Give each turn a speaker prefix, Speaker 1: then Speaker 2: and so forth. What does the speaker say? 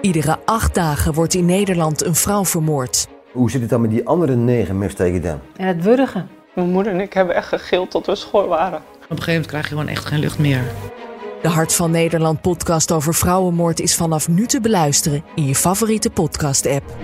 Speaker 1: Iedere acht dagen wordt in Nederland een vrouw vermoord.
Speaker 2: Hoe zit het dan met die andere negen missteken dan?
Speaker 3: En het wurgen.
Speaker 4: Mijn moeder en ik hebben echt gegild tot we schoor waren.
Speaker 5: Op een gegeven moment krijg je gewoon echt geen lucht meer.
Speaker 1: De Hart van Nederland podcast over vrouwenmoord is vanaf nu te beluisteren in je favoriete podcast-app.